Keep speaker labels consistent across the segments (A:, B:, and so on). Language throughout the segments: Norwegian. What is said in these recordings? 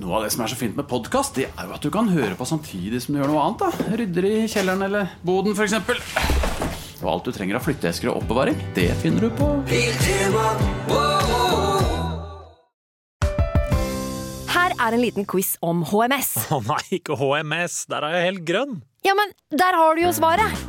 A: Noe av det som er så fint med podkast, det er jo at du kan høre på samtidig som du gjør noe annet. da Rydder i kjelleren eller boden, f.eks. Og alt du trenger av flytteesker og oppbevaring, det finner du på
B: Her er en liten quiz om HMS.
C: Å nei, ikke HMS. Der er jeg helt grønn.
B: Ja, men der har du jo svaret!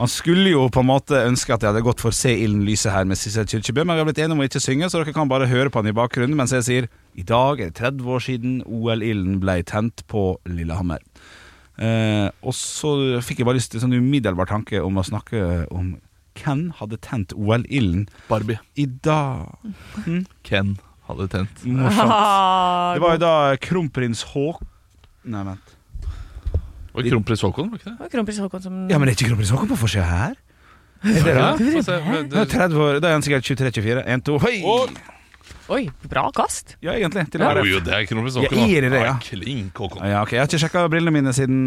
D: Man skulle jo på en måte ønske at jeg hadde gått for Se ilden lyse her med Sissel Kyrkjebø, men vi har blitt enige om å ikke synge, så dere kan bare høre på han i bakgrunnen mens jeg sier I dag er det 30 år siden OL-ilden ble tent på Lillehammer. Eh, og så fikk jeg bare lyst til en sånn umiddelbar tanke om å snakke om hvem hadde tent OL-ilden
E: Barbie.
D: i dag?
E: Ken hadde tent.
D: Morsomt. Det var jo da kronprins Haak... Nei, vent.
E: Var det kronprins Haakon, var det ikke det?
F: Det var Kronprins Haakon som
D: Ja, men det er ikke kronprins Haakon på forsida her? Er det det?
E: Få se, altså, men
D: Det er
E: det-
D: 30 år, da er han sikkert 23-24. 1, 2, hei!
E: Å,
F: Oi, bra kast!
D: Ja, egentlig. Til å
E: Jo,
D: være
E: jo, det er kronprins
D: Jeg
E: Haakon. da.
D: gir det, ja.
E: Nei, Klink Haakon.
D: Ja, ok, Jeg har ikke sjekka brillene mine siden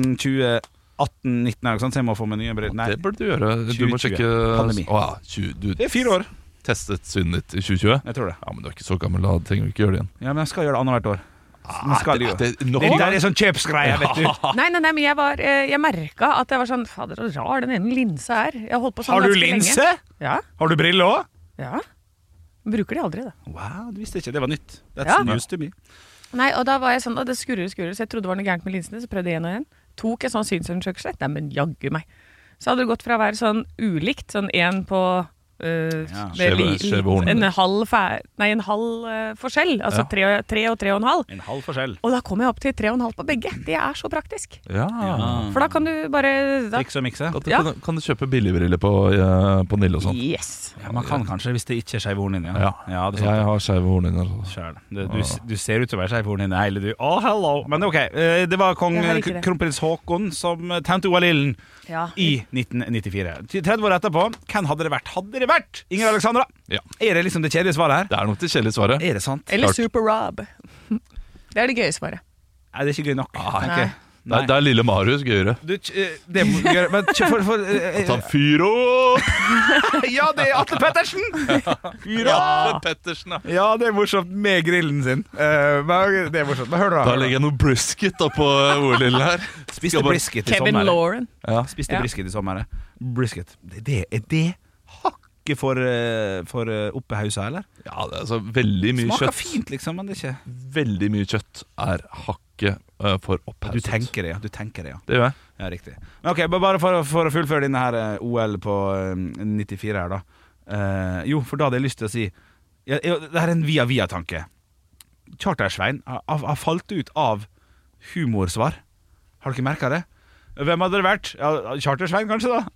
D: 2018-19, eller noe sånt, så jeg må få meg nye briller. Nei,
E: Det burde du gjøre. Du må
D: 2020.
E: sjekke
D: Pandemi.
E: Å, ja, tju- Du
D: det er fire år.
E: testet synet ditt i 2020.
D: Jeg tror det.
E: Ja, men du er ikke så gammel, da trenger du ikke gjøre det igjen.
D: Ja, Men jeg skal gjøre det annethvert år. Man skal jo.
E: det, det, nok,
D: Ah, Det der er sånn kjøpsgreie, vet du.
F: Nei, nei, nei, men jeg, var, eh, jeg merka at jeg var sånn Fader, så rar den ene linsa er. Jeg har holdt på sånn
D: Har du
F: ganske
D: linse?
F: Lenge. Ja,
D: Har du briller òg?
F: ja. Bruker de aldri, da.
D: Wow, du visste ikke. Det var nytt. That's
F: Ja.
D: news to me.
F: Nei, og da var jeg sånn, og det skurrer og skurrer, så jeg trodde det var noe gærent med linsene, så prøvde jeg igjen og igjen. Tok en sånn synsundersøkelse, nei, men jaggu meg. Så hadde det gått fra å være sånn ulikt, sånn en på øh,
D: Ja,
F: med
E: skjeve-
F: li-
E: skjeve horn.
F: En halv, fæ- nei, en halv øh, forskjell, altså
E: Ja.
F: tre, og- tre og tre og en halv.
D: En halv forskjell.
F: Og da kom jeg opp til tre og en halv på begge. Det er så praktisk.
E: ja.
D: Ah.
F: For da kan du bare da,
D: Triks og mikse.
E: Da
F: Ja.
E: Kan, kan du kjøpe billigbriller på, eh, på Nille og sånn?
F: Yes.
D: Ja, man kan kanskje, hvis det ikke er skeiv hornlinje.
E: Ja.
D: ja, Ah. det er sånn sant.
E: Jeg har skeive hornhinner. altså.
D: Sjæl. Du, du, du ser ut til å være skeiv hornhinne hele du. Oh, hello. Men ok, eh, det var kong
F: Jeg har ikke det.
D: kronprins Haakon som tente OL-ilden.
F: Ja.
D: i 1994. Til 30 år etterpå, hvem hadde det vært? Hadde det vært Inger Alexandra?
E: Ja.
D: Er det liksom det kjedelige svaret her?
E: Det er nok det kjedelige svaret.
D: Er det sant?
F: Eller
E: Klart.
F: Super Rob. Det er det gøye svaret.
D: Nei, det er ikke gøy nok.
E: Nei.
D: tenker jeg.
E: Det er, det er lille Marius gøyere.
D: Du, eh, det må du gjøre Men kjø- for, for eh,
E: Ta en fyr opp!
D: eh, Ja, det er Atle Pettersen!
E: Ja! Pettersen, ja.
D: Ja, det er morsomt med grillen sin. Eh, men det er morsomt. Men hør nå.
E: Da legger jeg noe brisket oppå
D: eh,
E: OL-ilden her.
D: Spiste brisket i
F: Kevin
D: sommer.
F: Lauren.
E: Ja.
D: Spiste
F: Ja.
D: brisket i sommer. eh. Brisket. Det, det er det hakket for, eh, for eh, oppe i huset, eller?
E: ja, det er altså veldig mye
D: Smaker
E: kjøtt.
D: fint, liksom, men det er ikke
E: Veldig mye kjøtt er hakket eh, for
D: Du
E: opphauset.
D: tenker det, ja. Du tenker det, ja.
E: Det gjør jeg.
D: Ja, riktig. Men ok, ba- Bare for, å- for å fullføre denne her eh, OL på eh, 94 her, da. Eh, jo, for da hadde jeg lyst til å si ja, ja, Det her er en via-via-tanke. Charter-Svein har- har har falt ut av humorsvar. Har dere merka det? Hvem hadde det vært? Ja, Charter-Svein, kanskje, da?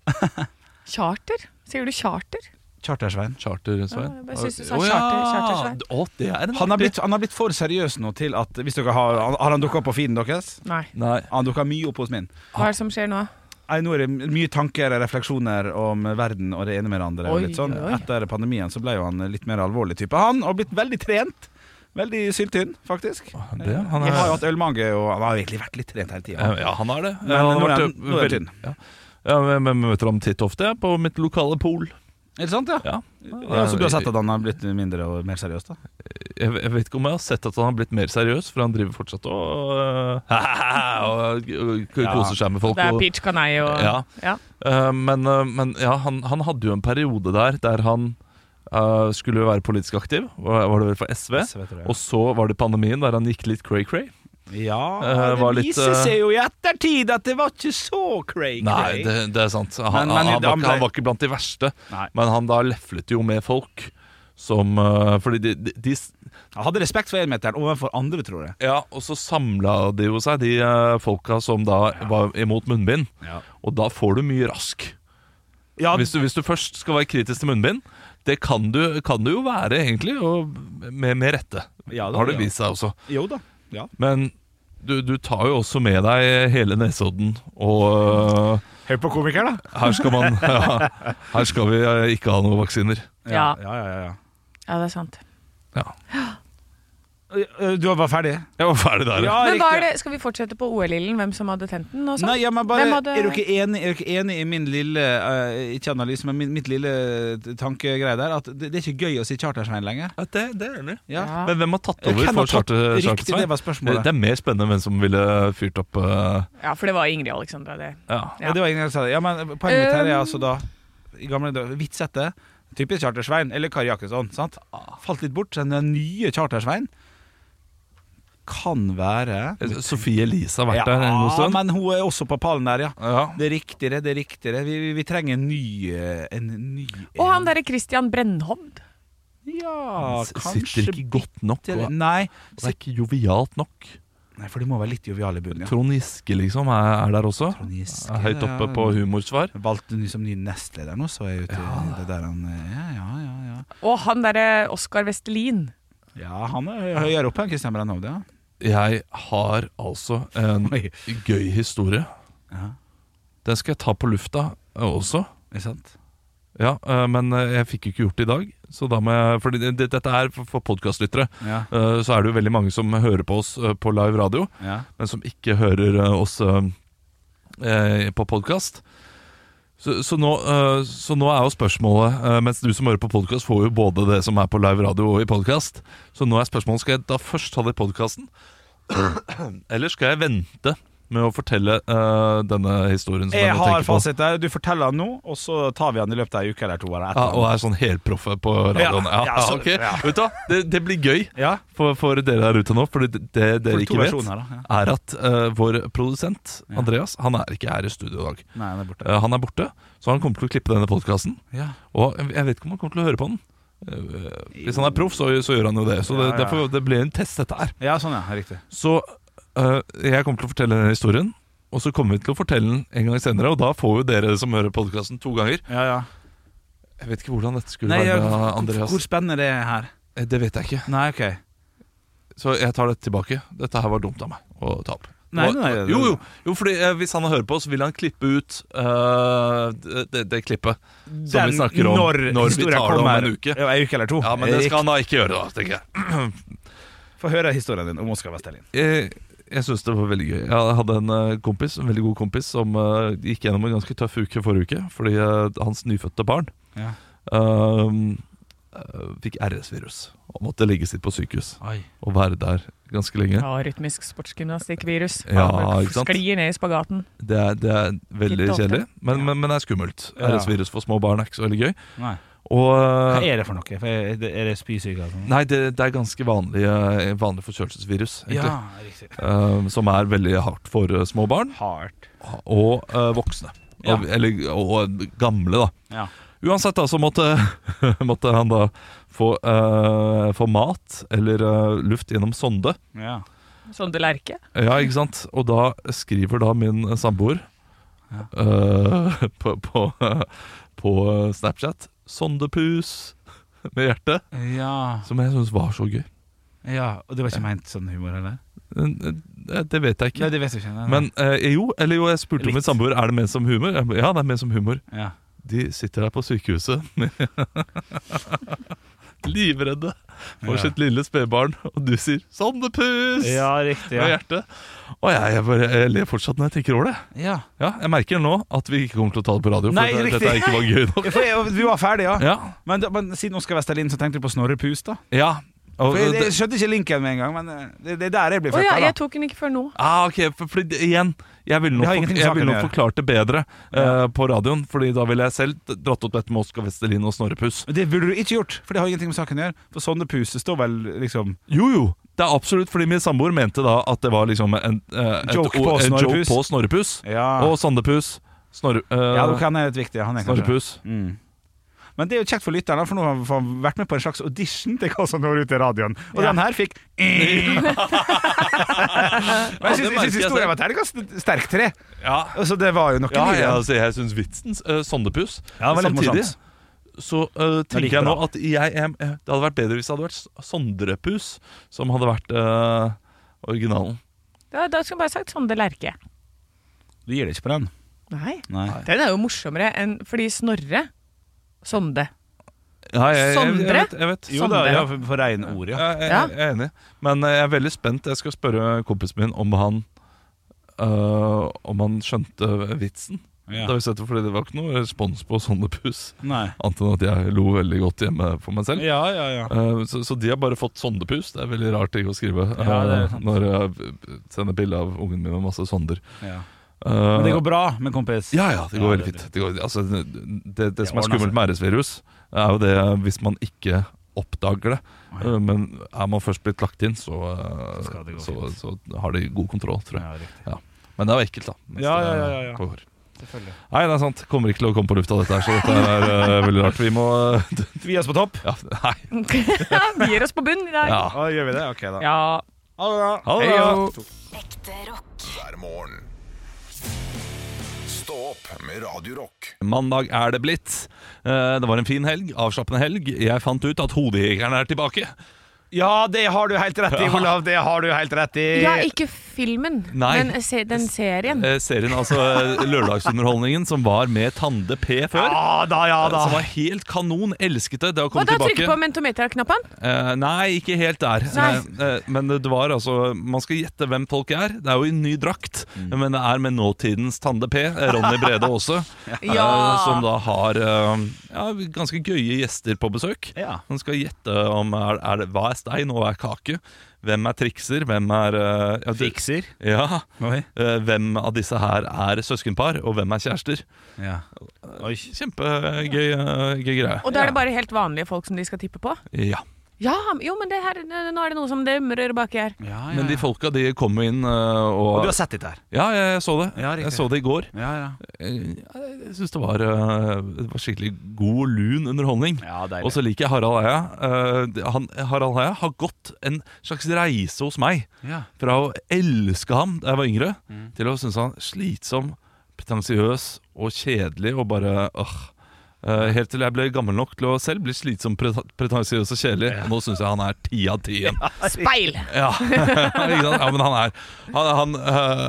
F: Charter? Sier du charter?
D: Charter-Svein.
E: Charter-Svein.
F: Ja, jeg bare synes du sa
E: Å,
F: charter- charter-Svein.
E: Å, det er en
D: Han har,
E: artig-
D: blitt, han har blitt for seriøs nå til at Hvis dere har han- Har han dukka opp på feeden deres?
F: Nei.
E: Nei.
D: Han dukka mye opp hos min.
F: Hva er det som skjer nå?
D: Nei, nå er det mye tanker og refleksjoner om verden og det ene med det andre. og
F: Oi,
D: litt sånn.
F: oi.
D: Etter pandemien så ble jo han litt mer alvorlig type. Han har blitt veldig trent. Veldig syltynn, faktisk.
E: Det, han
D: Han
E: er,
D: har jo hatt ølmage, og han har egentlig vært litt trent hele tida.
E: ja, han er det. Eh,
D: Men
E: han
D: nå
E: har
D: er
E: vært,
D: han- nå er han
E: veldig- ja. Ja, men- men møter ham titt ofte jeg, på mitt lokale pol. Eh,
D: Er det sant, ja?
E: Ja.
D: ja? Så du har sett at han har blitt mindre og mer seriøs, da?
E: Jeg, jeg vet ikke om jeg har sett at han har blitt mer seriøs, for han driver fortsatt og, eh, og, og koser seg med folk.
F: Det er
E: og,
F: peach canai og
E: Ja. Eh, men, eh, men ja, han, han hadde jo en periode der der han eh, skulle være politisk aktiv. Var, var det vel for SV?
D: SV, tror jeg.
E: Og så var det pandemien, der han gikk litt cray-cray.
D: Ja,
E: Eh, var
D: det
E: litt,
D: viser
E: eh,
D: seg jo i ettertid at det var ikke så cray-cray.
E: Nei, det, det er sant. Han,
D: Men- men
E: han,
D: da
E: var,
D: ble-
E: ikke- han var ikke blant de verste,
D: Nei.
E: men han da leflet jo med folk som eh, Fordi de, de, de s-
D: Han hadde respekt for énmeteren overfor andre, tror jeg.
E: Ja, og så samla de jo seg, de eh, folka som da var imot munnbind.
D: Ja.
E: Og da får du mye rask.
D: Ja,
E: Hvis du, hvis du først skal være kritisk til munnbind, det kan du, kan du jo være, egentlig, og med, med rette.
D: Ja, det
E: har det
D: ja.
E: vist seg også.
D: Jo da. Ja.
E: Men Du, du tar jo også med deg hele Nesodden, og øh,
D: Hør på komiker, da.
E: her skal man ja, Her skal vi øh, ikke ha noen vaksiner.
F: Ja.
D: Ja, ja, ja, ja.
F: Ja, det er sant.
E: Ja.
D: Eh, Du var ferdig?
E: Jeg var ferdig der. Ja.
F: Men hva er det, Skal vi fortsette på OL-ilden? Hvem som hadde tent den? og sånn?
D: Nei, ja, men bare,
F: Hvem hadde-
D: er, dere enig, er dere enig i min lille eh, Ikke analyse, men min, mitt lille t- tankegreie der? At det, det er ikke gøy å si Chartersveien lenger?
E: Det, det er enig.
D: Ja.
F: Ja.
E: Men hvem har tatt
D: Hvem
E: over
D: har
E: for
D: tatt-
E: charter-
D: Riktig, det
E: Chartersveien?
D: var spørsmålet.
E: Det er mer spennende enn hvem som ville fyrt opp øh,
F: Ja, for det var Ingrid Alexandra. Det.
E: ja.
D: Ja, det var ingen som sa det. Ja, men poenget mitt her er altså da I gamle dager Hvitsette. Typisk Chartersveien. Eller Kari Jakkesson. Sant?
F: Ah.
D: Falt litt bort. så Den nye Chartersveien kan være
E: Sofie Elise har vært
D: ja,
E: der en god stund.
D: men hun er også på pallen der, ja.
E: Ja.
D: Det er riktigere, det er riktigere. Vi, vi, vi trenger en ny eh, En ny
F: Og han derre Christian Brennhovd.
D: Ja,
E: S-
D: kanskje
E: Sitter ikke godt nok
D: bitte-
E: og
D: Nei,
E: er ikke jovialt nok.
D: Nei, for de må være litt joviale i bunnen, ja.
E: Trond Giske liksom er, er der også.
D: Trond Giske,
E: Er høyt
D: ja.
E: oppe på humorsvar.
D: Valgte ny som ny nestleder nå, så er jeg ute i det der han eh, Ja, ja, ja. Ja,
F: Og han derre Oskar Vestelin.
D: ja han er høy- høyere oppe enn Christian Brennhovde, ja.
E: Jeg har altså en
D: Oi.
E: gøy historie.
D: Ja.
E: Den skal jeg ta på lufta eh, også.
D: Ikke sant?
E: Ja, eh, Men eh, jeg fikk jo ikke gjort det i dag. Så da må jeg, fordi det- det, dette er for, for podkastlyttere.
D: Ja.
E: Eh, Så er det jo veldig mange som hører på oss eh, på live radio,
D: ja.
E: men som ikke hører eh, oss eh, eh, på podkast. Så, så, nå, eh, så nå er jo spørsmålet eh, Mens du som hører på podkast, får jo både det som er på live radio og i podkast. Så nå er spørsmålet skal jeg da først ta det i podkasten, eller skal jeg vente med å fortelle eh, denne historien? Som jeg,
D: Jeg
E: nå
D: har
E: tenker på?
D: fasit der. Du forteller han nå, og så tar vi han i løpet av ei uke eller to. Eller
E: Ja,
D: etter.
E: og er sånn helproffe på radioen.
D: Ja,
E: Ja,
D: ja,
E: ja,
D: så-
E: ok.
D: ja.
E: Vet du hva, det, det blir gøy
D: ja.
E: for, for dere der ute nå, for det, det dere
D: For to
E: ikke vet,
D: versjoner, da. Ja.
E: er at eh, vår produsent Andreas Han er ikke her i studio i dag.
D: Nei, han er borte.
E: Eh, han er borte, så han kommer til å klippe denne podkasten.
D: Ja.
E: Og jeg jeg vet ikke om han kommer til å høre på den. Eh, hvis han er proff, så, så gjør han jo det. Så
D: Ja,
E: det,
D: ja.
E: Derfor, det blir en test, dette her.
D: ja, sånn, ja. Riktig.
E: Så eh, jeg kommer til å fortelle denne historien. Og så kommer vi til å fortelle den en gang senere, og da får jo dere som hører podkasten, to ganger.
D: Ja, ja.
E: Jeg vet ikke hvordan dette skulle
D: Nei, ja,
E: være med
D: hvor,
E: Andreas.
D: hvor spennende det er her?
E: Eh, Det vet jeg ikke.
D: Nei, OK.
E: Så jeg tar det tilbake. Dette her var dumt av meg å ta opp. Det
D: Nei,
E: var-
D: nei, nei, nei.
E: Jo, jo, jo fordi eh, hvis han hører på, så vil han klippe ut eh, det- det, det klippet som vi snakker om
D: når,
E: vi
D: historien
E: tar det om
D: kommer-
E: en uke.
D: Ja, en uke eller to.
E: Ja, men det
D: Riktig.
E: skal han da ikke gjøre, da, tenker jeg.
D: Få høre historien din om Oskar Vestelin.
E: Jeg, jeg syns det var veldig gøy. Jeg hadde en eh, kompis, en veldig god kompis som eh, gikk gjennom en ganske tøff uke forrige uke fordi eh, hans nyfødte barn
D: Ja.
E: ehm, eh, fikk RS-virus og måtte legges inn på sykehus
D: Oi.
E: og være der ganske lenge.
F: Ja, rytmisk sportsgymnastikkvirus.
E: Ja,
F: Han
E: ikke sant?
F: Sklir ned i spagaten.
E: Det er, det er veldig
F: Litt ofte.
E: kjedelig, men, men, men det er skummelt.
D: Ja.
E: RS-virus for små barn er ikke så veldig gøy.
D: Nei.
E: Og
D: Hva
E: eh,
D: er det for noe? For er det- er det spysyke? og sånn?
E: Nei, det, det er ganske vanlig, eh, vanlig forkjølelsesvirus, egentlig.
D: Ja, riktig.
E: Eh, som er veldig hardt for eh, små barn
D: Hardt.
E: og eh, voksne.
D: Ja.
E: Og, eller og eh, gamle, da.
D: Ja.
E: Uansett da, så måtte, måtte han da få, eh, få mat eller eh, luft gjennom sonde.
D: ja.
F: Sonde Lerche.
E: Ja, ikke sant? Og da skriver da min samboer eh, på, på, på Snapchat 'Sondepus' med hjerte,
D: Ja.
E: som jeg syns var så gøy.
D: ja. Og det var ikke meint sånn humor, eller?
E: Eh, Det vet jeg
D: Nei,
E: ikke.
D: det vet jeg ikke. Nei, nei.
E: Men eh, jo, eller jo, jeg spurte
D: Litt.
E: min samboer er det ment som humor. Jeg ba, Ja, det er ment som humor.
D: ja.
E: De sitter der på sykehuset med livredde
D: Ja.
E: for sitt lille spedbarn, og du sier 'Sondepus'
D: ja, riktig.
E: med
D: Ja.
E: hjerte. Og jeg, jeg, bare, jeg ler fortsatt når jeg tenker over det.
D: ja.
E: Ja, Jeg merker nå at vi ikke kommer til å ta det på radio. For
D: Nei,
E: dette-
D: riktig.
E: dette er ikke var gøy nok
D: Ja, For jeg, vi var ferdige, ja.
E: Ja,
D: Men, da- men siden Oskar Vestelin, så tenkte du på Snorre Pus, da?
E: ja. Og,
D: For jeg,
E: det,
D: jeg skjønte ikke linken med en gang, men eh, det, det er der jeg blir
F: Å ja,
D: fucka,
F: jeg
D: da.
F: tok den ikke før nå.
E: ah, ok, for, for, det- igjen Jeg
D: Det
E: ville nok,
D: har
E: for,
D: ingenting med
E: jeg
D: saken
E: ville
D: å
E: nok
D: gjøre.
E: forklart det bedre eh,
D: Ja.
E: på radioen Fordi da ville jeg selv dratt opp dette med Oskar Vestelin og Snorrepuss
D: Men Det burde du ikke gjort, for det har ingenting med saken å gjøre. For sånne pus det står vel liksom
E: Jo jo, det er absolutt fordi min samboer mente da At det var liksom en, eh, et
D: Joke på
E: ord- en joke
D: Snorrepuss.
E: på Snorrepuss
D: Ja,
E: Og Sandepuss Snorre, eh,
D: ja ok, han er litt viktig. Han er kanskje
E: Snorrepuss
D: mm. Men det er jo kjekt for lytterne, for nå har han vært med på en slags audition til hva som når ut i radioen. Og den her fikk Men jeg syns-
E: det
D: jeg
E: merker
D: syns
E: jeg
D: historien
E: selv.
D: var terningkast sterk tre.
E: Ja,
D: Så det var jo noe
E: ja,
D: mye.
E: ja altså, jeg syns vitsen uh, Sondepus
D: Ja, det var litt
E: Samtidig
D: morsomt.
E: så eh,
D: gikk
E: tenker jeg nå
D: bra.
E: at jeg, jeg, Det hadde vært bedre hvis det hadde vært S- Sondrepus som hadde vært eh, originalen.
F: Da, da skulle jeg bare sagt Sande Lerche.
D: altså. Du gir deg ikke på den?
F: Nei.
D: Nei.
F: Den er jo morsommere enn fordi Snorre Sonde.
E: Ja, jeg, jeg, jeg,
F: Sondre?
E: vet, jeg vet.
D: Jo da, Sånn ja, for, for reine ord, ja.
E: Jeg, jeg,
F: Ja.
E: jeg er enig. Men eh, jeg er veldig spent. Jeg skal spørre kompisen min om han øh, Om han skjønte vitsen.
D: Ja.
E: Da vi sett det, fordi det var ikke noe respons på sånne pus.
D: Nei.
E: Annet enn at jeg lo veldig godt hjemme for meg selv.
D: Ja, ja, ja.
E: Eh, Så, så de har bare fått sondepus. Det er veldig rart ting å skrive eh,
D: Ja, det er sant.
E: når jeg sender bilde av ungen min med masse sonder.
D: ja.
E: Eh,
D: Men det går bra med kompis?
E: ja, ja, det går
D: Ja,
E: veldig fint. Det, går, altså, det, det, det
D: Det
E: som er
D: ordner
E: skummelt med RS-virus, er jo det hvis man ikke oppdager det. Eh, Men er man først blitt lagt inn, så, eh,
D: Så skal det gå
E: så, så har de god kontroll, tror jeg.
D: Ja, riktig.
E: Men det er jo ekkelt, da. mens
D: Ja,
E: det
D: ja, ja, ja, ja.
E: pågår.
D: Selvfølgelig.
E: Nei, det er sant. Kommer ikke til å komme på lufta, dette her, så dette er eh, veldig rart. Vi må eh,
D: Vi er oss på topp?
E: Ja, nei.
F: Vi gir oss på bunn i dag.
E: Ja.
D: Ja, gjør vi det? Ok, da.
F: ja.
D: Ha det bra.
E: Ha det!
F: Hei,
E: da.
F: jo.
G: hver morgen. Stå opp med Radio Rock.
E: Mandag er det blitt. Eh, Det var en fin helg, avslappende helg. Jeg fant ut at hodejegeren er tilbake.
D: Ja, det har du helt rett i, Olav. Det har du helt rett i.
F: ja, ikke filmen,
E: Nei.
F: men se, den serien.
E: Eh, Serien, altså eh, lørdagsunderholdningen som var med Tande P før.
D: Ja da, ja da.
E: Som var helt kanon. Elsket det. Det har
F: Og
E: kommet
F: da trykk på
E: tilbake.
F: mentometer-knappen.
E: Eh, nei, ikke helt der.
F: Nei.
E: Eh, Men det var altså Man skal gjette hvem folk er. Det er jo i ny drakt,
F: Mm.
E: men det er med nåtidens Tande P. eh, Ronny Brede også. eh, Som da har eh, ja, ganske gøye gjester på besøk.
D: Ja.
E: Han skal gjette om er, er det, hva er stein og hva er kake. Hvem er trikser, hvem er eh, ja, det-
D: Fikser.
E: Ja.
D: Oi.
E: eh, hvem av disse her er søskenpar, og hvem er kjærester?
D: Ja. Oi.
E: Kjempegøy eh, gøy greie.
F: Og da er det bare helt vanlige folk som de skal tippe på.
E: Ja.
F: Ja, jo, men det her, nå er det noe som demrer baki her.
D: Ja, ja.
E: Men de folka de kom jo inn eh,
D: Og
E: og,
D: du har sett dette her?
E: Ja, jeg, jeg så det.
D: Ja, riktig.
E: jeg så det i går.
D: Ja, ja.
E: Eh, Jeg syns det, var, eh, det var skikkelig god, lun underholdning.
D: Ja, deilig.
E: og så liker jeg Harald Eia. Eh, det- han, Harald Eia har gått en slags reise hos meg.
D: Ja.
E: Fra å elske ham da jeg var yngre, til å synes han slitsom, pretensiøs og kjedelig og bare åh. Eh, helt til jeg ble gammel nok til å selv bli slitsom, preta- pretensiøs og kjedelig. Og nå syns jeg han er ti av ti igjen.
F: Speil!
E: Ja. Ikke sant? ja, men han er Han, han, eh,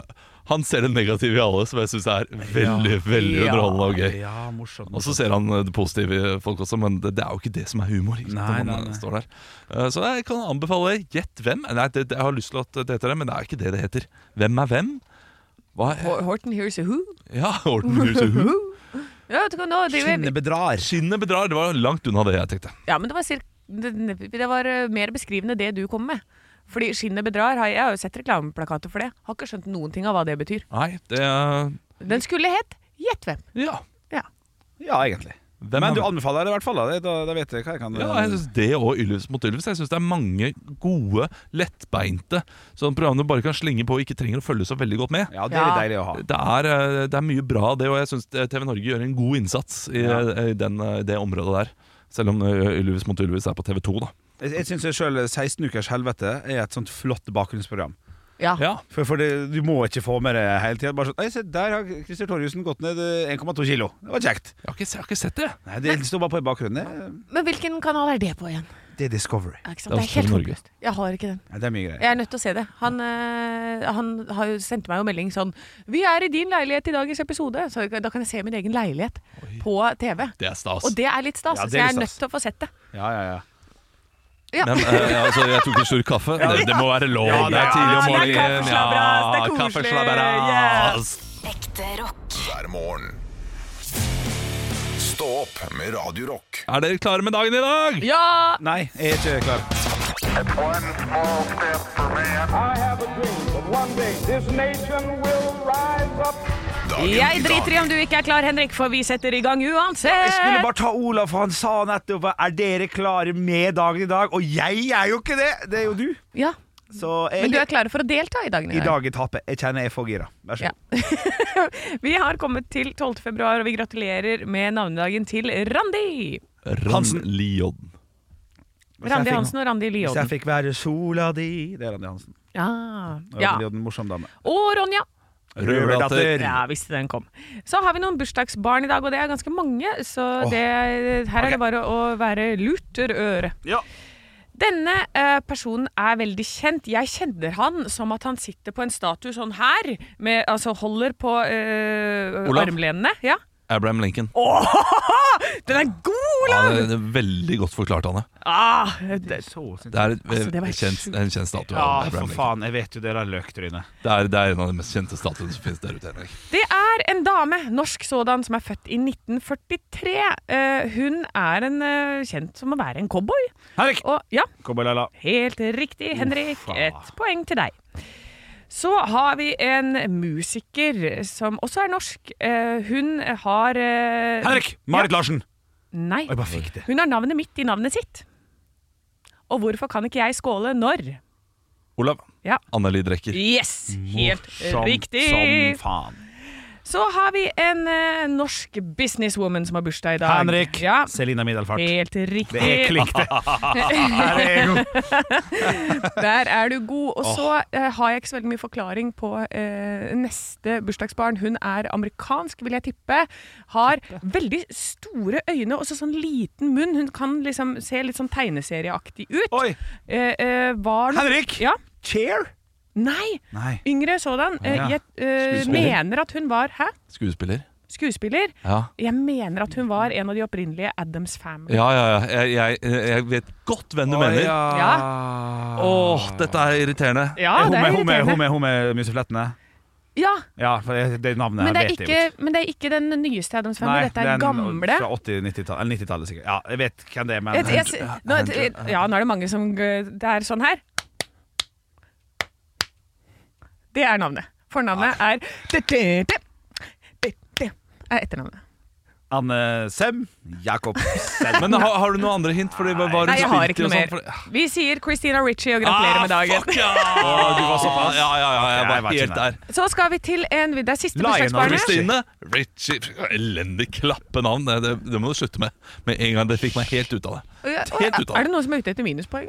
E: han ser det negative i alle, som jeg syns er veldig veldig
F: Ja.
E: underholdende og gøy.
D: Ja, morsomt.
E: Og så ser han eh, det positive i folk også, men det, det er jo ikke det som er humor. Ikke sant?
D: Nei, nei,
E: når man
D: nei.
E: eh, Står der. Eh, Så jeg kan anbefale Gjett hvem. Nei, det, det, jeg har lyst til at det heter det, men det er ikke det det heter. Hvem er hvem? Hva er,
F: Hor- Horten here's a who.
E: ja, Horten Huse.
F: Ja, vet du hva, nå driver
D: Skinnet bedrar.
E: Skinnet bedrar. Det var langt unna det jeg tenkte.
F: Ja, men det var, cirk, det, det var eh, mer beskrivende det du kom med. Fordi skinnet bedrar. har- Jeg har jo sett reklameplakater for det. Har ikke skjønt noen ting av hva det betyr.
E: Nei, det eh,
F: Den skulle hett Gjett hvem.
E: Ja.
F: Ja.
D: Ja, egentlig.
E: Hvem
D: Men
E: er
D: du
E: hvem?
D: anbefaler det i hvert fall. Da, da, da vet jeg hva jeg kan
E: Ja, jeg synes det og Ylvis mot Ylvis. Jeg synes det er mange gode, lettbeinte sånn programmer du bare kan slenge på og ikke trenger å følge så veldig godt med.
D: Ja, det er
F: Ja.
D: litt deilig å ha.
E: Det er, eh, det er mye bra, det, og jeg syns TV Norge gjør en god innsats i
D: Ja.
E: eh, den, eh, det området der. Selv om eh, Ylvis mot Ylvis er på TV 2, da.
D: Jeg, jeg syns sjøl 16 ukers helvete er et sånt flott bakgrunnsprogram.
F: Ja.
E: Ja.
D: For, for det, du må ikke få med det hele tida. Bare sånn Nei, se, der har Christer Torjussen gått ned eh, 1,2 kilo. Det var kjekt.
E: Jeg har ikke, jeg har ikke sett det.
D: Nei, det står bare på i bakgrunnen.
F: Men hvilken kanal er det på igjen?
D: Det, det er Discovery.
F: Ja, ikke sant?
E: Det er også TV Norge.
F: Jeg har ikke den.
D: Nei, det er mye greier.
F: Jeg er nødt til å se det. Han, eh, han har jo sendte meg jo melding sånn 'Vi er i din leilighet i dagens episode', så da kan jeg se min egen leilighet på TV.
E: Det er stas.
F: Og det er litt stas,
D: Ja, det er
F: så jeg
D: litt
F: er nødt
D: stas.
F: til å få sett det.
D: Ja, ja, ja.
F: Ja.
E: Men eh, ja, altså, jeg tok en slur kaffe. Det, det må være lov.
D: Ja, det
E: det
D: er-
E: er tidlig om
F: ja, det er
E: morgenen.
F: kaffeslabberas, det er koselig.
E: kaffeslabberas.
G: hver morgen. Stå opp med Radio Rock
E: Er dere klare med dagen i dag?
F: Ja!
D: Nei, jeg er ikke klar.
H: I have a dream that one day this nation will rise up.
G: Dagen
F: Jeg
G: i dag.
F: driter i om du ikke er klar, Henrik, for vi setter i gang
D: Jeg skulle
F: uansett.
D: bare ta Olav, for han sa nettopp Er dere klare med dagen i dag? Og jeg er jo ikke det! Det er jo du.
F: Ja,
D: Så jeg,
F: Men du er klar for å delta i dagen i
D: i
F: dag?
D: dag jeg taper. Jeg kjenner jeg er for gira. Vær så
F: Ja.
D: god.
F: Vi har kommet til 12. februar, og vi gratulerer med navnedagen til Randi.
D: Hansen.
E: Ran Liodden.
D: Hvis jeg
F: Randi
D: fikk-
F: Hansen og Randi
D: Hvis jeg
F: Lioden.
D: fikk være sola di Det er Randi Hansen.
F: Ja.
D: Og
F: ja.
D: Randi Odden, morsom dame.
F: Og Ronja.
E: Røverdatter.
F: Ja, visste den kom. Så har vi noen bursdagsbarn i dag, og det er ganske mange, så det, her er det bare å være lurt øre.
D: Ja.
F: Denne eh, personen er veldig kjent. Jeg kjenner han som at han sitter på en statue sånn her, med, altså holder på eh,
E: Olav?
F: armlenene. Ja.
E: Abraham Lincoln.
F: Den er god,
E: Ja,
F: Olav!
E: det det er veldig godt forklart, Anne.
F: Ah, det,
E: Det er, eh,
F: Altså, det var helt
E: kjent,
F: sjukt.
E: en kjent statue.
D: Ja,
E: av Abraham
D: for
E: Lincoln.
D: faen, jeg vet jo det der løktrynet.
E: Det er, det er en av de mest kjente statuene som finnes der ute. Henrik.
F: det er en dame, norsk sådan, som er født i 1943. Eh, hun er en, eh, kjent som å være en cowboy.
D: Henrik!
F: Og ja,
D: Cowboy-Laila.
F: Helt riktig, Henrik.
D: faen.
F: Et poeng til deg. Så har vi en musiker som også er norsk. Eh, hun har eh,
D: Henrik! Marit Larsen!
F: Nei.
D: Og jeg bare fikk det.
F: Hun har navnet mitt i navnet sitt. Og hvorfor kan ikke jeg skåle når?
E: Olav.
F: Ja.
E: Anneli Drecker.
F: Yes! Helt
D: Morsomt
F: riktig.
D: Som faen.
F: Så har vi en eh, norsk businesswoman som har bursdag i dag.
D: Henrik!
F: Ja,
D: Selina Middelfart.
F: helt riktig.
D: Det er klikk, det. Her er jeg god.
F: Der er du god. Og så eh, har jeg ikke så veldig mye forklaring på eh, neste bursdagsbarn. Hun er amerikansk, vil jeg tippe. Har veldig store øyne og så sånn liten munn. Hun kan liksom se litt sånn tegneserieaktig ut.
D: Oi!
F: Eh, eh, var no-
D: Henrik!
F: Ja.
D: Cheer?
F: Nei!
D: Nei.
F: Yngre sådan. Eh,
D: Ja.
F: jeg eh,
E: Skuespiller.
F: mener at hun var Hæ?
E: Skuespiller.
F: Skuespiller?
E: Ja.
F: Jeg mener at hun var en av de opprinnelige Adams Family.
E: Ja, ja, ja. Jeg, jeg, jeg vet godt hvem du mener. Åh, dette er irriterende.
F: Ja,
D: hun,
F: det er
D: med, hun, med, hun,
F: irriterende.
D: med, hun med museflettene?
F: Ja,
D: Ja, for det, det navnet
F: men,
D: her
F: det er
D: vet jeg
F: ikke,
D: jo ikke.
F: men det er ikke den nyeste Adams Family. Dette er
D: den
F: den gamle.
D: Fra 80- 90-tallet, eller 90-tallet sikkert. Ja, jeg vet hvem det er, men
F: Jeg, jeg, nå, ja, nå er det mange som Det er sånn her. Det er navnet. Fornavnet er Det er etternavnet.
D: Anne Sem Jacobsen.
E: Men har, har du noen andre hint? Fordi, hva, hva har hun
F: Nei, jeg har
E: spilt i
F: ikke
E: og
F: noe
E: sånt?
F: mer.
E: For- Ah,
F: Vi sier Christina Ritchie og gratulerer med
E: Fuck,
F: dagen.
E: ja! Åh, du var såpass. Ja, ja, ja. Jeg
D: Ok, jeg
E: var
D: var ikke
E: helt
D: der.
E: der.
F: Så skal vi til en Det er siste
D: Lionel
F: bursdagsbarnet.
D: Richie.
E: Stine Richie. Elendig klappenavn. Det, det, det må du slutte med med en gang. Det fikk meg helt ut av det.
F: Er
E: Helt ut av det.
F: det noen som er ute etter minuspoeng?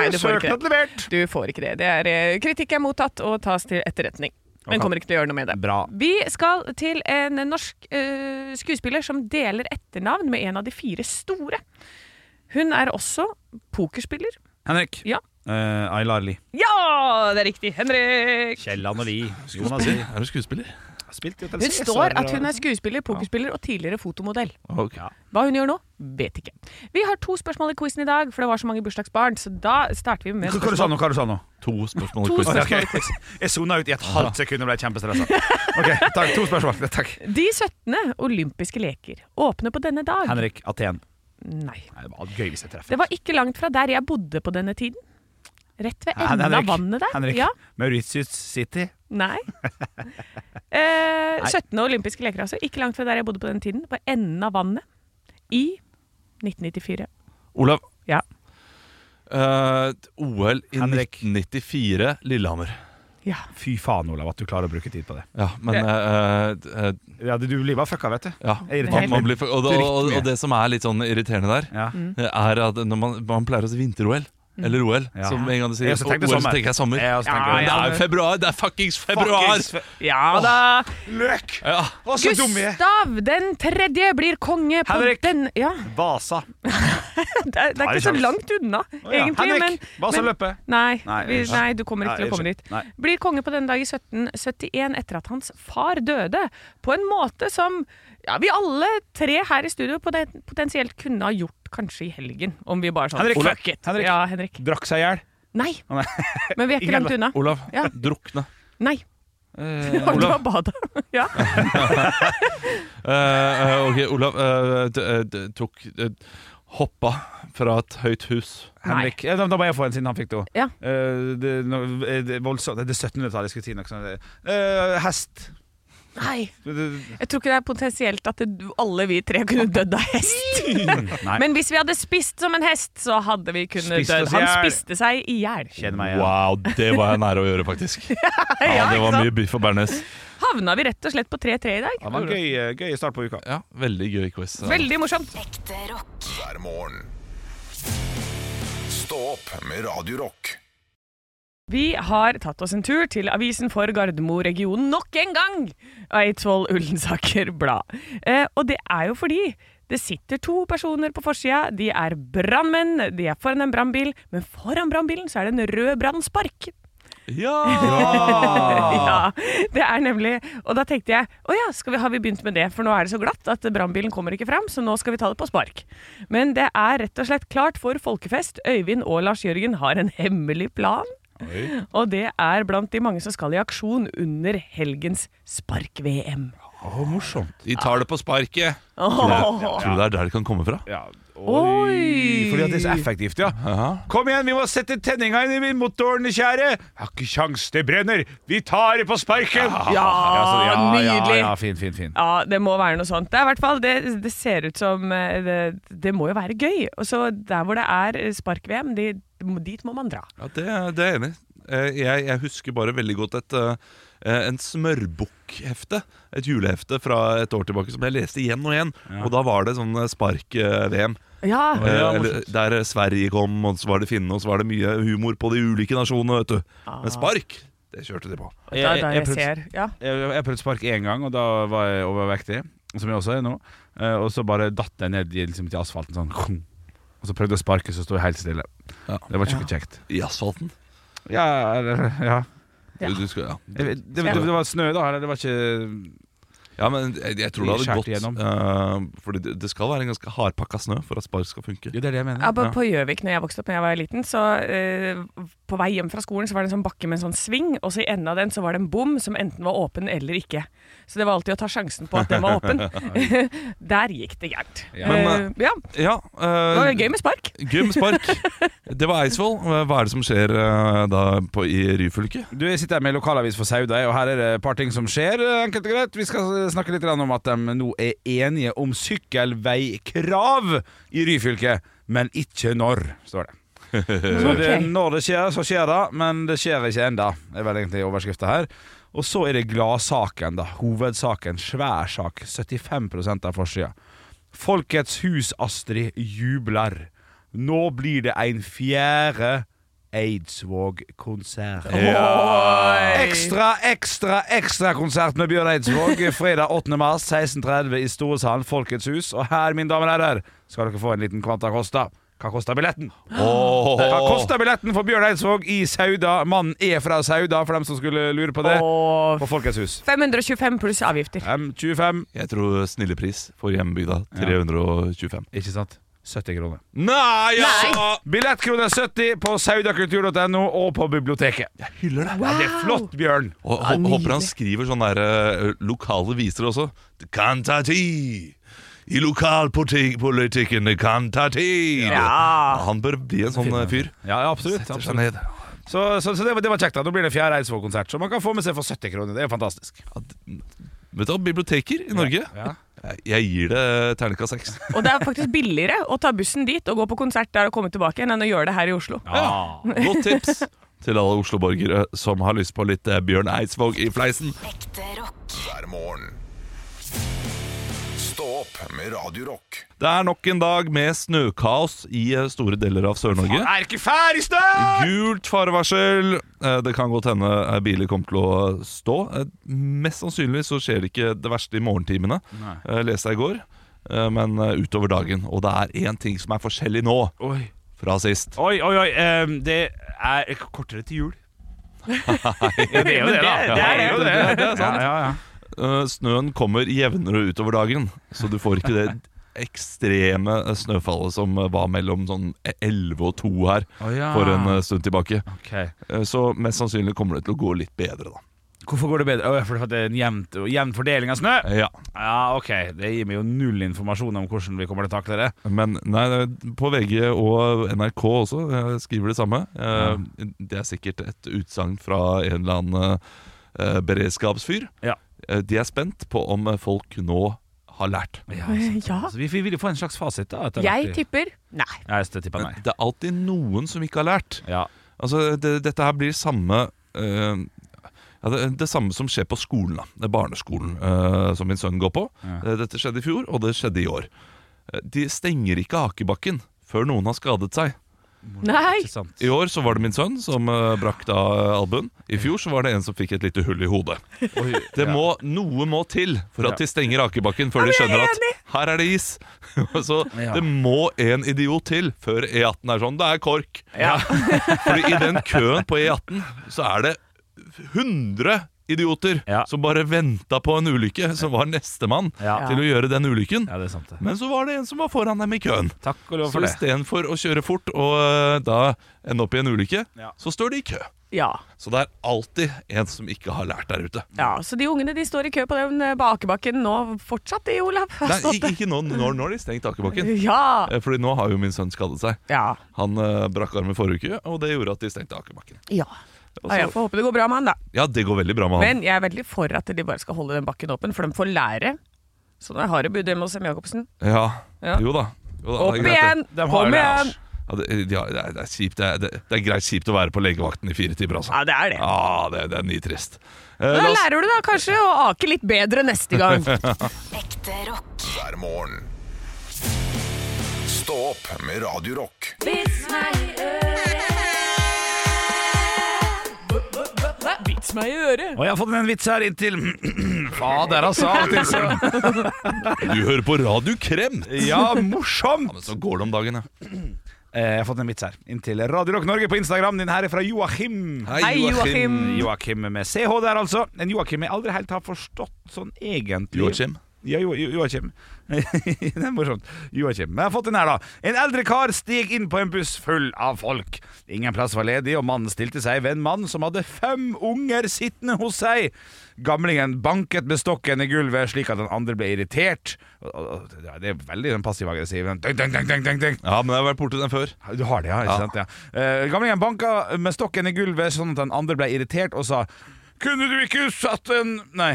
F: Nei, du får ikke
D: Søknad
F: det.
D: levert.
F: Du får ikke det. det er, eh, kritikk er mottatt og tas til etterretning. Men
D: Ok.
F: kommer ikke til å gjøre noe med det.
D: Bra.
F: Vi skal til en norsk eh, skuespiller som deler etternavn med en av de fire store. Hun er også pokerspiller.
D: Henrik.
F: Ja.
D: Eh, Aylar Lie.
F: Ja, det er riktig! Henrik!
D: Kjell Anne Lie. Jonas Lie.
E: Er du skuespiller?
D: Spilt i
F: Hun står at hun er skuespiller, pokerspiller og tidligere fotomodell.
E: Ok.
F: Hva hun gjør nå, vet ikke. Vi har to spørsmål i quizen i dag, for det var så mange bursdagsbarn. Så da starter vi med
D: Hva hva du sa nå? Hva du sa nå?
E: To spørsmål.
F: To
E: i quiz.
F: spørsmål.
D: Ok, Jeg sona ut i et halvt sekund og ble kjempestressa. Ok, takk, To spørsmål. Takk.
F: De 17. olympiske leker åpner på denne dag.
D: Henrik Aten.
F: Nei.
D: Nei, Det var gøy hvis jeg treffer.
F: Det var ikke langt fra der jeg bodde på denne tiden. Rett ved
D: Hen-
F: enden av vannet der.
D: Henrik.
F: Ja.
D: Mauritius City.
F: Nei. Eh, 17. olympiske leker, altså. Ikke langt fra der jeg bodde på den tiden. På enden av vannet. I 1994.
E: Olav.
F: Ja.
E: eh, OL i
D: Henrik.
E: 1994, Lillehammer.
F: ja.
D: Fy faen, Olav, at du klarer å bruke tid på det.
E: Ja, men eh, eh,
D: Ja, du blir bare fucka, vet du.
E: Ja,
D: Jeg er
E: man,
D: irritert.
E: man blir, og, og, og,
D: Dritmye.
E: og det som er litt sånn irriterende der,
D: Ja.
F: Mm.
E: er at når man, man pleier å si vinter-OL, eller OL,
D: Ja.
E: som en gang du sier
D: Jeg også tenkte
E: OL, så
D: sommer.
E: tenker jeg sommer.
D: Jeg også tenker
E: Men
D: det.
E: det er jo februar! Det er fuckings februar!
D: Fuckings fe-
F: Ja da!
D: Løk!
E: Ja.
D: Hva så dum jeg er!
F: Gustav den tredje blir konge på
D: Henrik.
F: den Ja,
D: Vasa.
F: det er, det
D: Ta
F: er
D: en
F: ikke så
D: sjanse.
F: langt unna,
D: Å ja.
F: egentlig. Men,
D: Henrik, Vasaløpet.
F: Nei,
D: Nei,
F: vi,
D: unnskyld.
F: nei, du kommer ikke
D: Nei,
F: til å komme
D: unnskyld.
F: dit.
D: Nei.
F: Blir konge på denne dag i 1771 etter at hans far døde, på en måte som ja, vi alle tre her i studio poten- potensielt kunne ha gjort kanskje i helgen. Om vi bare sånn
D: Henrik,
F: fuck
D: fuck.
F: it.
D: Henrik.
F: Ja, Henrik.
D: Drakk seg i hjel.
F: Nei,
D: Nei.
F: men vi er ikke
D: Ingen
F: langt unna.
E: Olav,
F: Ja.
E: drukne.
F: Nei.
D: Eh,
F: Olav. Du
D: Olav.
F: har badet. Ja.
E: Eh, eh, ok, Olav eh, d, eh, d, tok eh, Hoppa fra et høyt hus.
D: Henrik. Ja, Da, da må jeg få en siden han fikk det òg.
F: Ja.
D: det, nå- eh, det, er voldsomt. det er 1700-tallet jeg skulle si noe sånt. Eh, hest.
F: Nei.
D: Det- det-
F: Jeg tror ikke det er potensielt at det, alle vi tre kunne dødd av hest.
D: Nei.
F: Men hvis vi hadde spist som en hest, så hadde vi kunnet
D: Spist
F: dødd.
D: oss
F: Han
D: ihjel.
F: spiste seg i hjel.
D: Kjenner meg igjen.
E: Wow, det var jeg nære å gjøre, faktisk. Ja, Det var mye biff og bearnés.
F: Havna vi rett og slett på 3-3 i dag?
D: Det var en gøy, eh, gøy start på uka.
E: Ja, veldig gøy quiz.
F: Veldig morsomt.
G: hver morgen. Stå opp med Radio Rock.
F: Vi har tatt oss en tur til avisen for Gardermo-regionen nok en gang! Eidsvoll Ullensaker Blad. Eh, og det er jo fordi det sitter to personer på forsida. De er brannmenn, de er foran en brannbil, men foran brannbilen så er det en rød brannspark.
E: Ah.
F: Ja, det er nemlig Og da tenkte jeg å ja, skal vi, har vi begynt med det, for nå er det så glatt at brannbilen kommer ikke fram, så nå skal vi ta det på spark. Men det er rett og slett klart for folkefest. Øyvind og Lars Jørgen har en hemmelig plan. Og det er blant de mange som skal i aksjon under helgens spark-VM.
D: Å, morsomt.
E: De tar det på sparket.
F: Åh.
E: Tror du det er der det kan komme fra?
D: Ja.
F: Oi.
D: Fordi at det er så effektivt, ja. Kom igjen, vi må sette tenninga inn i motoren, kjære! Har ikke kjangs, det brenner! Vi tar det på sparken! Ja, så-
F: nydelig.
D: Ja, ja, fin, fin, fin.
F: Ja, det må være noe sånt. Det, er i hvert fall, det, det ser ut som eh, det, det må jo være gøy. Og så der hvor det er eh, spark-VM, de, dit må man dra.
E: Ja, det, det er jeg enig i. Eh, Jeg, jeg husker bare veldig godt et, eh, en smørbukkhefte. Et julehefte fra et år tilbake som jeg leste igjen og igjen. Og da var det sånn spark-VM. Eh,
F: Ja,
E: der Sverige kom, og så var det finne, og så var det mye humor på de ulike nasjonene, vet du.
F: Ah.
E: Men spark, det kjørte de på.
F: det er der jeg
D: prøvde-
F: ser. Ja.
D: Jeg jeg prøvde spark én gang, og da var jeg overvektig, som jeg også er nå. Eh, Og så bare datt jeg ned i- liksom, til asfalten sånn. kong. Og så prøvde jeg å sparke, så sto jeg helt stille.
E: Ja.
D: Det var ikke kjekt.
E: I asfalten.
D: Ja, eller, ja.
F: Ja.
E: Du skal, ja.
D: Jeg vet- Det, det, det var snø, da. Eller det var ikke
E: ja, men jeg, jeg tror det hadde
D: Skjært
E: gått eh, Fordi det, det skal være en ganske hardpakka snø for at spark skal funke.
D: Jo, det er det jeg mener.
F: Ja, på- På Gjøvik, når jeg vokste opp da jeg var liten, så eh, på vei hjem fra skolen så var det en sånn bakke med en sånn sving, og så i enden av den så var det en bom som enten var åpen eller ikke. Så det var alltid å ta sjansen på at den var åpen. der gikk det gærent.
D: Ja.
E: Men,
F: Eh, ja,
E: Ja,
F: det var
E: uh,
F: gøy med spark.
E: Gym, spark. Det var Eidsvoll. Hva er det som skjer eh, da på, i Ryfylke?
D: Du, Jeg sitter her med lokalavis for Sauda, og her er det et par ting som skjer. eh, enkelt og greit. Vi skal eh, snakke litt grann om at de nå er enige om sykkelveikrav i Ryfylke, men ikke når, står det. Så det,
F: Ok.
D: når det skjer, så skjer det, men det skjer ikke enda, er vel egentlig overskriften her. Og så er det gladsaken, da. Hovedsaken. Svær sak. 75 av forsida. Folkets hus Astrid jubler. Nå blir det en fjerde Eidsvåg-konsert. Ekstra, ekstra, ekstra konsert med Bjørn Eidsvåg fredag 8. mars 16.30 i Storesalen Folkets hus. Og her, mine damer og herrer, skal dere få en liten Kvanta Costa. Hva koster billetten? Hva koster billetten for Bjørn Eidsvåg i Sauda? Mannen er fra Sauda, for dem som skulle lure på det.
F: Og
D: På Folkets hus.
F: 525 pluss avgifter.
D: M25,
E: Jeg tror snillepris for hjembygda. 325.
D: ikke sant? 70 kroner.
E: Nei, altså!
D: Billettkroner 70 på saudakultur.no og på biblioteket.
E: Jeg hyller det.
D: Ja, det er flott, Bjørn.
E: Og hå- håper han skriver sånne der, eh, lokale viser også. Det kan ta tid! I lokalpolitikken, det kan ta tid! Han bør bli en sånn eh, fyr.
D: Ja, absolutt.
E: Setter seg
D: absolutt.
E: ned.
D: Så, så, så det, var- det var kjekt. da Nå blir det fjerde Eidsvåg-konsert, som man kan få med seg for 70 kroner. Det er jo fantastisk.
E: Vet du hva, biblioteker i Norge?
D: Ja.
E: Jeg- Jeg gir det terningkast seks.
F: Og det er faktisk billigere å ta bussen dit og gå på konsert der og komme tilbake, enn å gjøre det her i Oslo.
E: Ja, Godt tips til alle Oslo-borgere som har lyst på litt eh, Bjørn Eidsvåg i fleisen.
G: hver morgen. Stå opp med Radio Rock.
E: Det er nok en dag med snøkaos i eh, store deler av Sør-Norge.
D: Er ikke ferdig snart!
E: Gult farevarsel. Eh, Det kan godt hende eh, biler kommer til å stå. Eh, Mest sannsynlig så skjer det ikke det verste i morgentimene, eh, leste jeg i går. Eh, Men eh, utover dagen. Og det er én ting som er forskjellig nå
D: Oi,
E: fra sist.
D: oi, oi. oi. em, det er kortere til jul. ja, det er jo det, da.
E: det er jo det.
D: sant. Ja, ja, ja.
E: Eh, Snøen kommer jevnere utover dagen, så du får ikke det ekstreme eh, snøfallet som eh, var mellom sånn 11 og 2 her
D: Å, ja.
E: for en eh, stund tilbake.
D: Ok.
E: Eh, Så mest sannsynlig kommer det til å gå litt bedre, da.
D: Hvorfor går det bedre? Åh, fordi det er en jevnt, jevn fordeling av snø?
E: Ja,
D: Eh, Ja, ok. Det gir meg jo null informasjon om hvordan vi kommer til å takle det.
E: Men nei, det- på VG og NRK også eh, skriver det samme. Eh, Det er sikkert et utsagn fra en eller annen eh, beredskapsfyr.
D: Ja.
E: Eh, De er spent på om eh, folk nå har lært.
F: Ja.
D: Så Altså, vi vi vil jo få en slags fasit, da. etter
F: Ah. Jeg
D: hvert.
F: tipper nei.
D: Jeg st- tipper nei.
E: Men Det er alltid noen som ikke har lært.
D: Ja.
E: Altså, det, dette her blir samme eh, ja, det, det samme som skjer på skolen, da. Det er barneskolen eh, som min sønn går på. Eh, Dette skjedde i fjor, og det skjedde i år. Eh, De stenger ikke Akebakken før noen har skadet seg.
F: Nei!
D: Ikke sant?
E: I år så var det min sønn som eh, brakk da eh, albuen. I fjor så var det en som fikk et lite hull i hodet. Det må, Noe må til for at de stenger akebakken før de skjønner at her er det is. så
D: Ja.
E: det må en idiot til før E18 er sånn. Det er KORK. Fordi i den køen på E18 så er det 100 idioter
D: Ja.
E: som bare venta på en ulykke, som var nestemann
D: Ja.
E: til å gjøre den ulykken.
D: Ja, det er sant det.
E: Men så var det en som var foran dem i køen.
D: Takk og lov
E: Så
D: for det.
E: istedenfor å kjøre fort og eh, da ende opp i en ulykke,
D: Ja.
E: så står de i kø.
F: Ja.
E: Så det er alltid en som ikke har lært der ute.
F: ja. Så de ungene de står i kø på den eh, bakebakken nå fortsatt, de, Olav.
E: Nei, ikke, ikke nå, når, når de stengt akebakken.
F: Ja.
E: Eh, Fordi nå har jo min sønn skadet seg.
F: Ja.
E: Han eh, brakk armen forrige uke, og det gjorde at de stengte akebakken.
F: ja.
E: Og
F: Ja, jeg
E: så-
F: får håpe det går bra med han, da.
E: Ja, det går veldig bra med han.
F: Men jeg er veldig for at de bare skal holde den bakken åpen, for de får lære. Så nå har det budd hjemme hos Sem Jacobsen.
E: Ja,
F: Ja.
E: Jo da. Jo da,
F: Opp
E: det er greit,
F: igjen!
E: det.
D: De har jo
F: Kom
D: lært.
F: igjen!
E: Ja, det, ja, det, er, det, er kjipt, det, er, det, det er greit kjipt å være på legevakten i fire timer, altså.
F: Ja, det er det.
E: Ja, det, det er nitrist. Eh,
F: Da
E: la oss-
F: lærer du da kanskje å ake litt bedre neste gang.
I: Ekte rock.
G: hver morgen. Stå opp med Radio Rock.
F: Vits meg i øret.
D: Og jeg har fått en vits her inntil Fader, altså. alltid så-
E: Du hører på Radio Kremt!
D: Ja, morsomt!
E: Ja, men så går det om dagen, ja.
D: Eh, Jeg har fått en vits her inntil Radio Rock Norge på Instagram. Den her er fra Joakim.
F: Hei, Joakim.
D: Joakim med CH der, altså. En Joakim jeg aldri helt har forstått sånn egentlig.
E: Joakim.
D: Ja, jo, jo, Joakim. det er morsomt. Joakim. Men jeg har fått den her, da. En eldre kar steg inn på en buss full av folk. Ingen plass var ledig, og mannen stilte seg ved en mann som hadde fem unger sittende hos seg. Gamlingen banket med stokken i gulvet slik at den andre ble irritert. Og- og- og- Det er veldig sånn passiv-aggressiv. Dunk, dunk, dunk, dunk, dunk, dunk.
E: Ja, men jeg har vært borti den før.
D: Du har det, ja. ikke
E: Ja.
D: sant? Ja. Eh, gamlingen banka med stokken i gulvet sånn at den andre ble irritert og sa Kunne du ikke satt en Nei.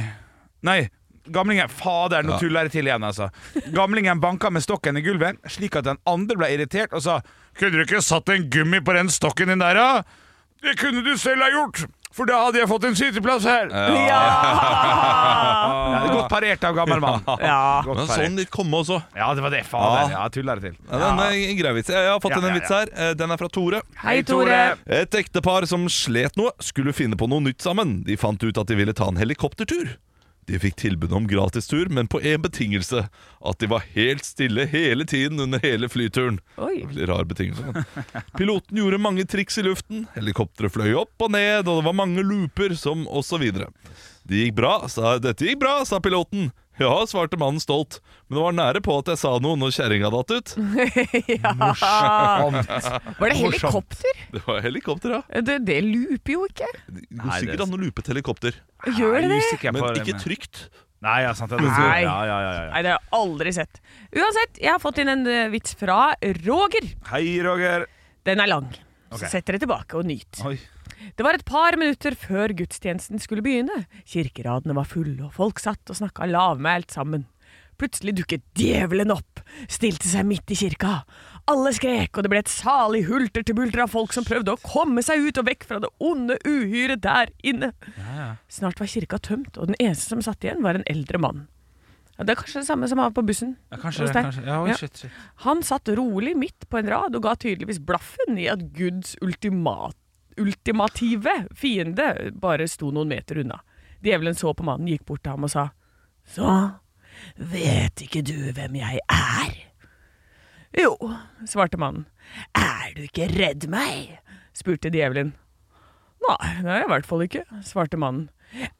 D: Nei. Gamlingen Fader, nå
E: Ja.
D: tuller jeg til igjen, altså. Gamlingen banka med stokken i gulvet slik at den andre ble irritert og sa Kunne du ikke satt en gummi på den stokken din der, da? Det kunne du selv ha gjort, for da hadde jeg fått en sitteplass her.
F: Ja!
D: Ja, det er godt parert av gammel mann.
F: Ja.
D: Godt
E: Men
D: parert.
E: sånn de kommer også.
D: Ja, det var det. Fader.
E: Ja.
D: Ja, tuller jeg til.
E: Ja, den er en grei vits. Jeg har fått
D: Ja,
E: inn en
D: ja,
E: vits
D: ja.
E: her. Eh, Den er fra Tore.
F: Hei, Tore.
E: Et ektepar som slet noe, skulle finne på noe nytt sammen. De fant ut at de ville ta en helikoptertur. De fikk tilbud om gratistur, men på én betingelse. At de var helt stille hele tiden under hele flyturen.
F: Oi.
E: Det blir rar betingelse. men. Piloten gjorde mange triks i luften. Helikopteret fløy opp og ned, og det var mange looper, som osv. Det gikk bra, sa Dette gikk bra, sa piloten. Ja, svarte mannen stolt. Men det var nære på at jeg sa noe når kjerringa datt ut.
F: Var det helikopter?
E: Det var helikopter, ja.
F: Det, det looper jo ikke.
E: Det går
D: Nei, det er
E: sikkert an å loope et helikopter.
F: Gjør det det?
E: Men
D: eh.
E: ikke trygt.
D: Nei, ja, sant. det er det.
F: Nei.
D: Ja, ja, ja, ja.
F: Nei, det har jeg aldri sett. Uansett, jeg har fått inn en eh, vits fra Roger.
D: Hei, Roger.
F: Den er lang.
D: Ok.
F: Så sett dere tilbake og nyt.
D: Oi.
F: Det var et par minutter før gudstjenesten skulle begynne. Kirkeradene var fulle, og folk satt og snakka lavmælt sammen. Plutselig dukket djevelen opp, stilte seg midt i kirka. Alle skrek, og det ble et salig hulter til bulter av folk som prøvde å komme seg ut og vekk fra det onde uhyret der inne. Snart var kirka tømt, og den eneste som satt igjen, var en eldre mann. Ja, Det er kanskje det samme som han var på bussen. hos deg. Ja. Han satt rolig midt på en rad og ga tydeligvis blaffen i at Guds ultima- ultimative fiende bare sto noen meter unna. Djevelen så på mannen, gikk bort til ham og sa Så vet ikke du hvem jeg er? Jo, svarte mannen. Er du ikke redd meg? spurte djevelen. Nei, det er jeg i hvert fall ikke, svarte mannen.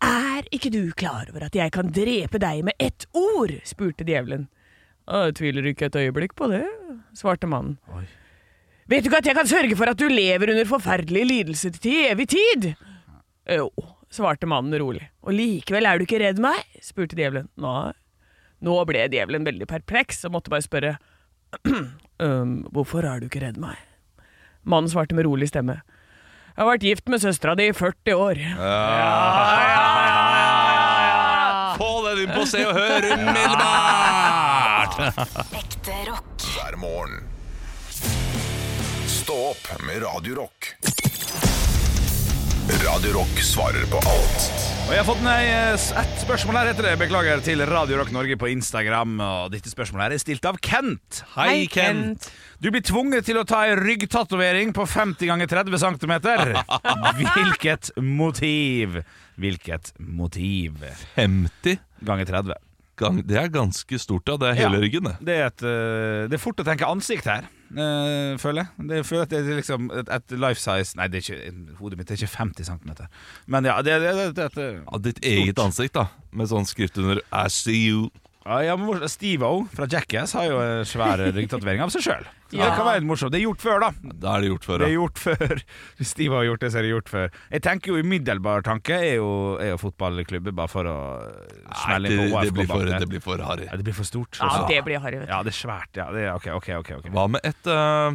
F: Er ikke du klar over at jeg kan drepe deg med ett ord? spurte djevelen. «Å, Jeg tviler ikke et øyeblikk på det, svarte mannen. Vet du ikke at jeg kan sørge for at du lever under forferdelig lidelse til evig tid? Jo, svarte mannen rolig. Og likevel er du ikke redd meg? spurte djevelen. Nei. Nå ble djevelen veldig perpleks og måtte bare spørre. «Øhm, hvorfor er du ikke redd meg? Mannen svarte med rolig stemme. Jeg har vært gift med søstera di i 40 år.
E: Få den inn på Se og Hør umiddelbart!
I: Ekte rock.
G: hver morgen. Stå opp med Radio Rock. Radio Rock svarer på alt
D: Og jeg har fått nei, ett spørsmål her, heter det. Beklager til Radio Rock Norge på Instagram. Og dette spørsmålet her er stilt av Kent.
F: Hei, Kent.
D: Du blir tvunget til å ta ei ryggtatovering på 50 ganger 30 cm. Hvilket motiv? Hvilket motiv?
E: 50
D: Ganger 30.
E: gang Det er ganske stort, ja. Det er hele
D: Ja.
E: ryggen, det.
D: Det er, et, eh, det er fort å tenke ansikt her, eh, føler jeg. Det, jeg føler at det er liksom et, et life size Nei, det er ikke, hodet mitt er ikke 50 cm. Men ja, det, det, det, det, det
E: Ja, ditt eget ansikt, da. Med sånn skrift under I see you.
D: Ja, ja, men mors- Steve-O fra Jackass har jo en svær ryggtatovering av seg sjøl. Det
F: Ja.
D: kan være morsomt. Det er gjort før, da.
E: Da er det gjort før,
D: Det er
E: ja.
D: gjort før. Hvis Steve har gjort det, så er det gjort før. Jeg tenker jo Umiddelbar tanke er jo, er jo fotballklubber, bare for å eh,
E: Nei,
D: smelle
E: det,
D: inn på
E: det, blir for,
D: OFK-banen.
E: det blir for harry.
D: Ja, det blir for stort.
F: Ja,
D: også.
F: det blir harry, vet du.
D: ja, det er svært. Ja, det er, ok, ok, ok. ok.
E: Hva med et eh,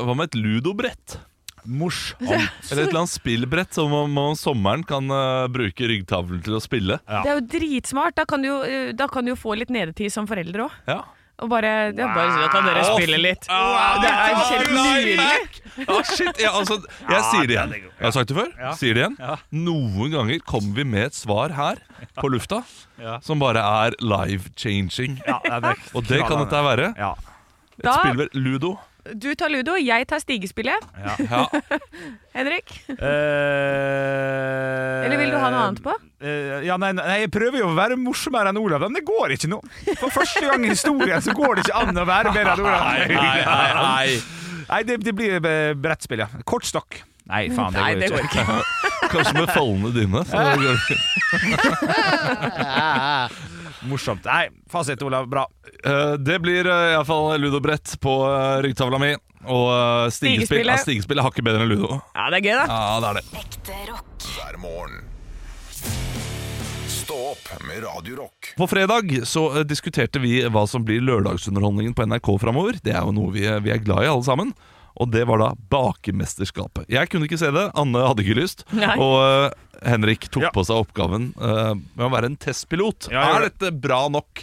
E: Hva med et ludobrett?
D: Morsomt.
E: Eller et eller annet spillbrett som man man om sommeren kan eh, bruke ryggtavlen til å spille.
D: Ja.
F: Det er jo dritsmart. Da kan du jo, eh, da kan du jo få litt nedetid som foreldre òg.
E: Ja.
F: Og bare, det er bare så kan dere spille litt. det er helt nydelig!
E: Ja, shit, ja, altså, jeg sier det igjen. Jeg har sagt det før. Sier det igjen. Noen ganger kommer vi med et svar her på lufta
D: Ja.
E: som bare er life-changing.
D: Ja, det er vekk.
E: Og det kan dette være.
D: Ja.
F: Da,
E: Spiller vel ludo.
F: du tar ludo, jeg tar stigespillet.
E: Ja.
F: Henrik?
D: Eh,
F: Eller vil du ha noe annet på?
D: Eh, ja, nei, nei, jeg prøver jo å være morsommere enn Olav, men det går ikke nå. For første gang i historien så går det ikke an å være bedre enn Olav. Nei, det, det blir eh, brettspill, ja. Kortstokk. Nei, faen, det
F: Nei,
D: går
F: det
D: jo
F: går
D: ikke.
F: ikke.
E: Kanskje med fallene dine. Så
D: Morsomt. Nei, fasit, Olav. Bra.
E: Eh, det blir uh, iallfall ludobrett på eh, ryggtavla mi. Og eh, stigespill.
F: Stigespill,
E: Ja,
F: ja.
E: stigespill er hakket bedre enn ludo.
F: Ja, det er gøy, da.
E: Ja, det er det.
I: ekte rock,
G: hver morgen. Stå opp med Radio Rock.
E: På fredag så eh, diskuterte vi hva som blir lørdagsunderholdningen på NRK framover. Det er jo noe vi, er- vi er glad i, alle sammen. Og det var da Bakemesterskapet. Jeg kunne ikke se det, Anne hadde ikke lyst.
F: Nei.
E: Og eh, Henrik tok
D: Ja.
E: på seg oppgaven eh, med å være en testpilot.
D: Ja, jeg
E: er
D: gjør
E: dette bra nok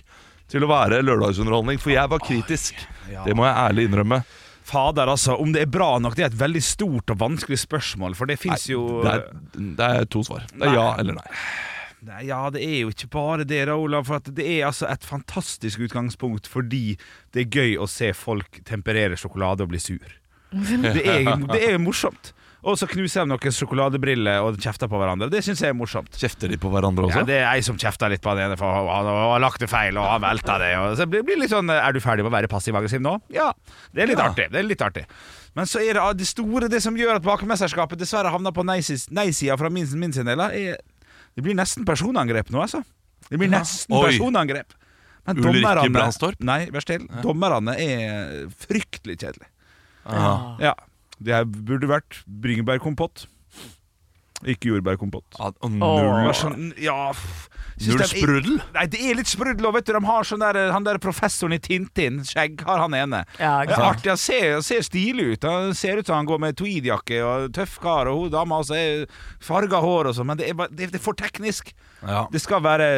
E: til å være lørdagsunderholdning? For jeg var kritisk. Det må jeg ærlig innrømme.
D: Fader, altså. Om det er bra nok, det er et veldig stort og vanskelig spørsmål, for det fins jo
E: Det er, det er to svar. Det er ja eller nei.
D: Nei, ja, det er jo ikke bare det, da, Olav. For at det er altså et fantastisk utgangspunkt fordi det er gøy å se folk temperere sjokolade og bli sur. Det er, det er morsomt. Og så knuser de noen sjokoladebriller og kjefter på hverandre. Det syns jeg er morsomt.
E: Kjefter de på hverandre
D: Ja,
E: også?
D: det er ei som kjefter litt på den ene, for han han har lagt det feil, og han velta det. Og så blir det litt sånn Er du ferdig med å være passiv-aggressiv nå? Ja. Det er litt
E: Ja.
D: artig. Det er litt artig. Men så er det ah, det store, det som gjør at bakermesterskapet dessverre havner på nei-sis- nei-sida fra min, min sin del, da, er Det blir nesten personangrep nå, altså. Det blir nesten
E: Oi.
D: personangrep. Men
E: Ulrikke
D: dommerne-
E: Brandstorp?
D: Nei, vær still. Dommerne er fryktelig kjedelige.
E: Ah.
D: Ja. Det her burde vært bringebærkompott. Ikke jordbærkompott.
E: Ja, og
D: Null,
E: null,
D: sånn, ja, f- synes
E: null
D: de-
E: sprudel?
D: Nei, det er litt sprudel, og vet du, de har sånn der, han der professoren i Tintin, skjegg, har han ene.
F: Ja,
D: Det er artig, han ser, han ser stilig ut, han ser ut som han går med tweedjakke og tøff kar, og hun dama også er farga hår og sånn, men det er, bare- det, det er for teknisk.
E: Ja.
D: Det skal være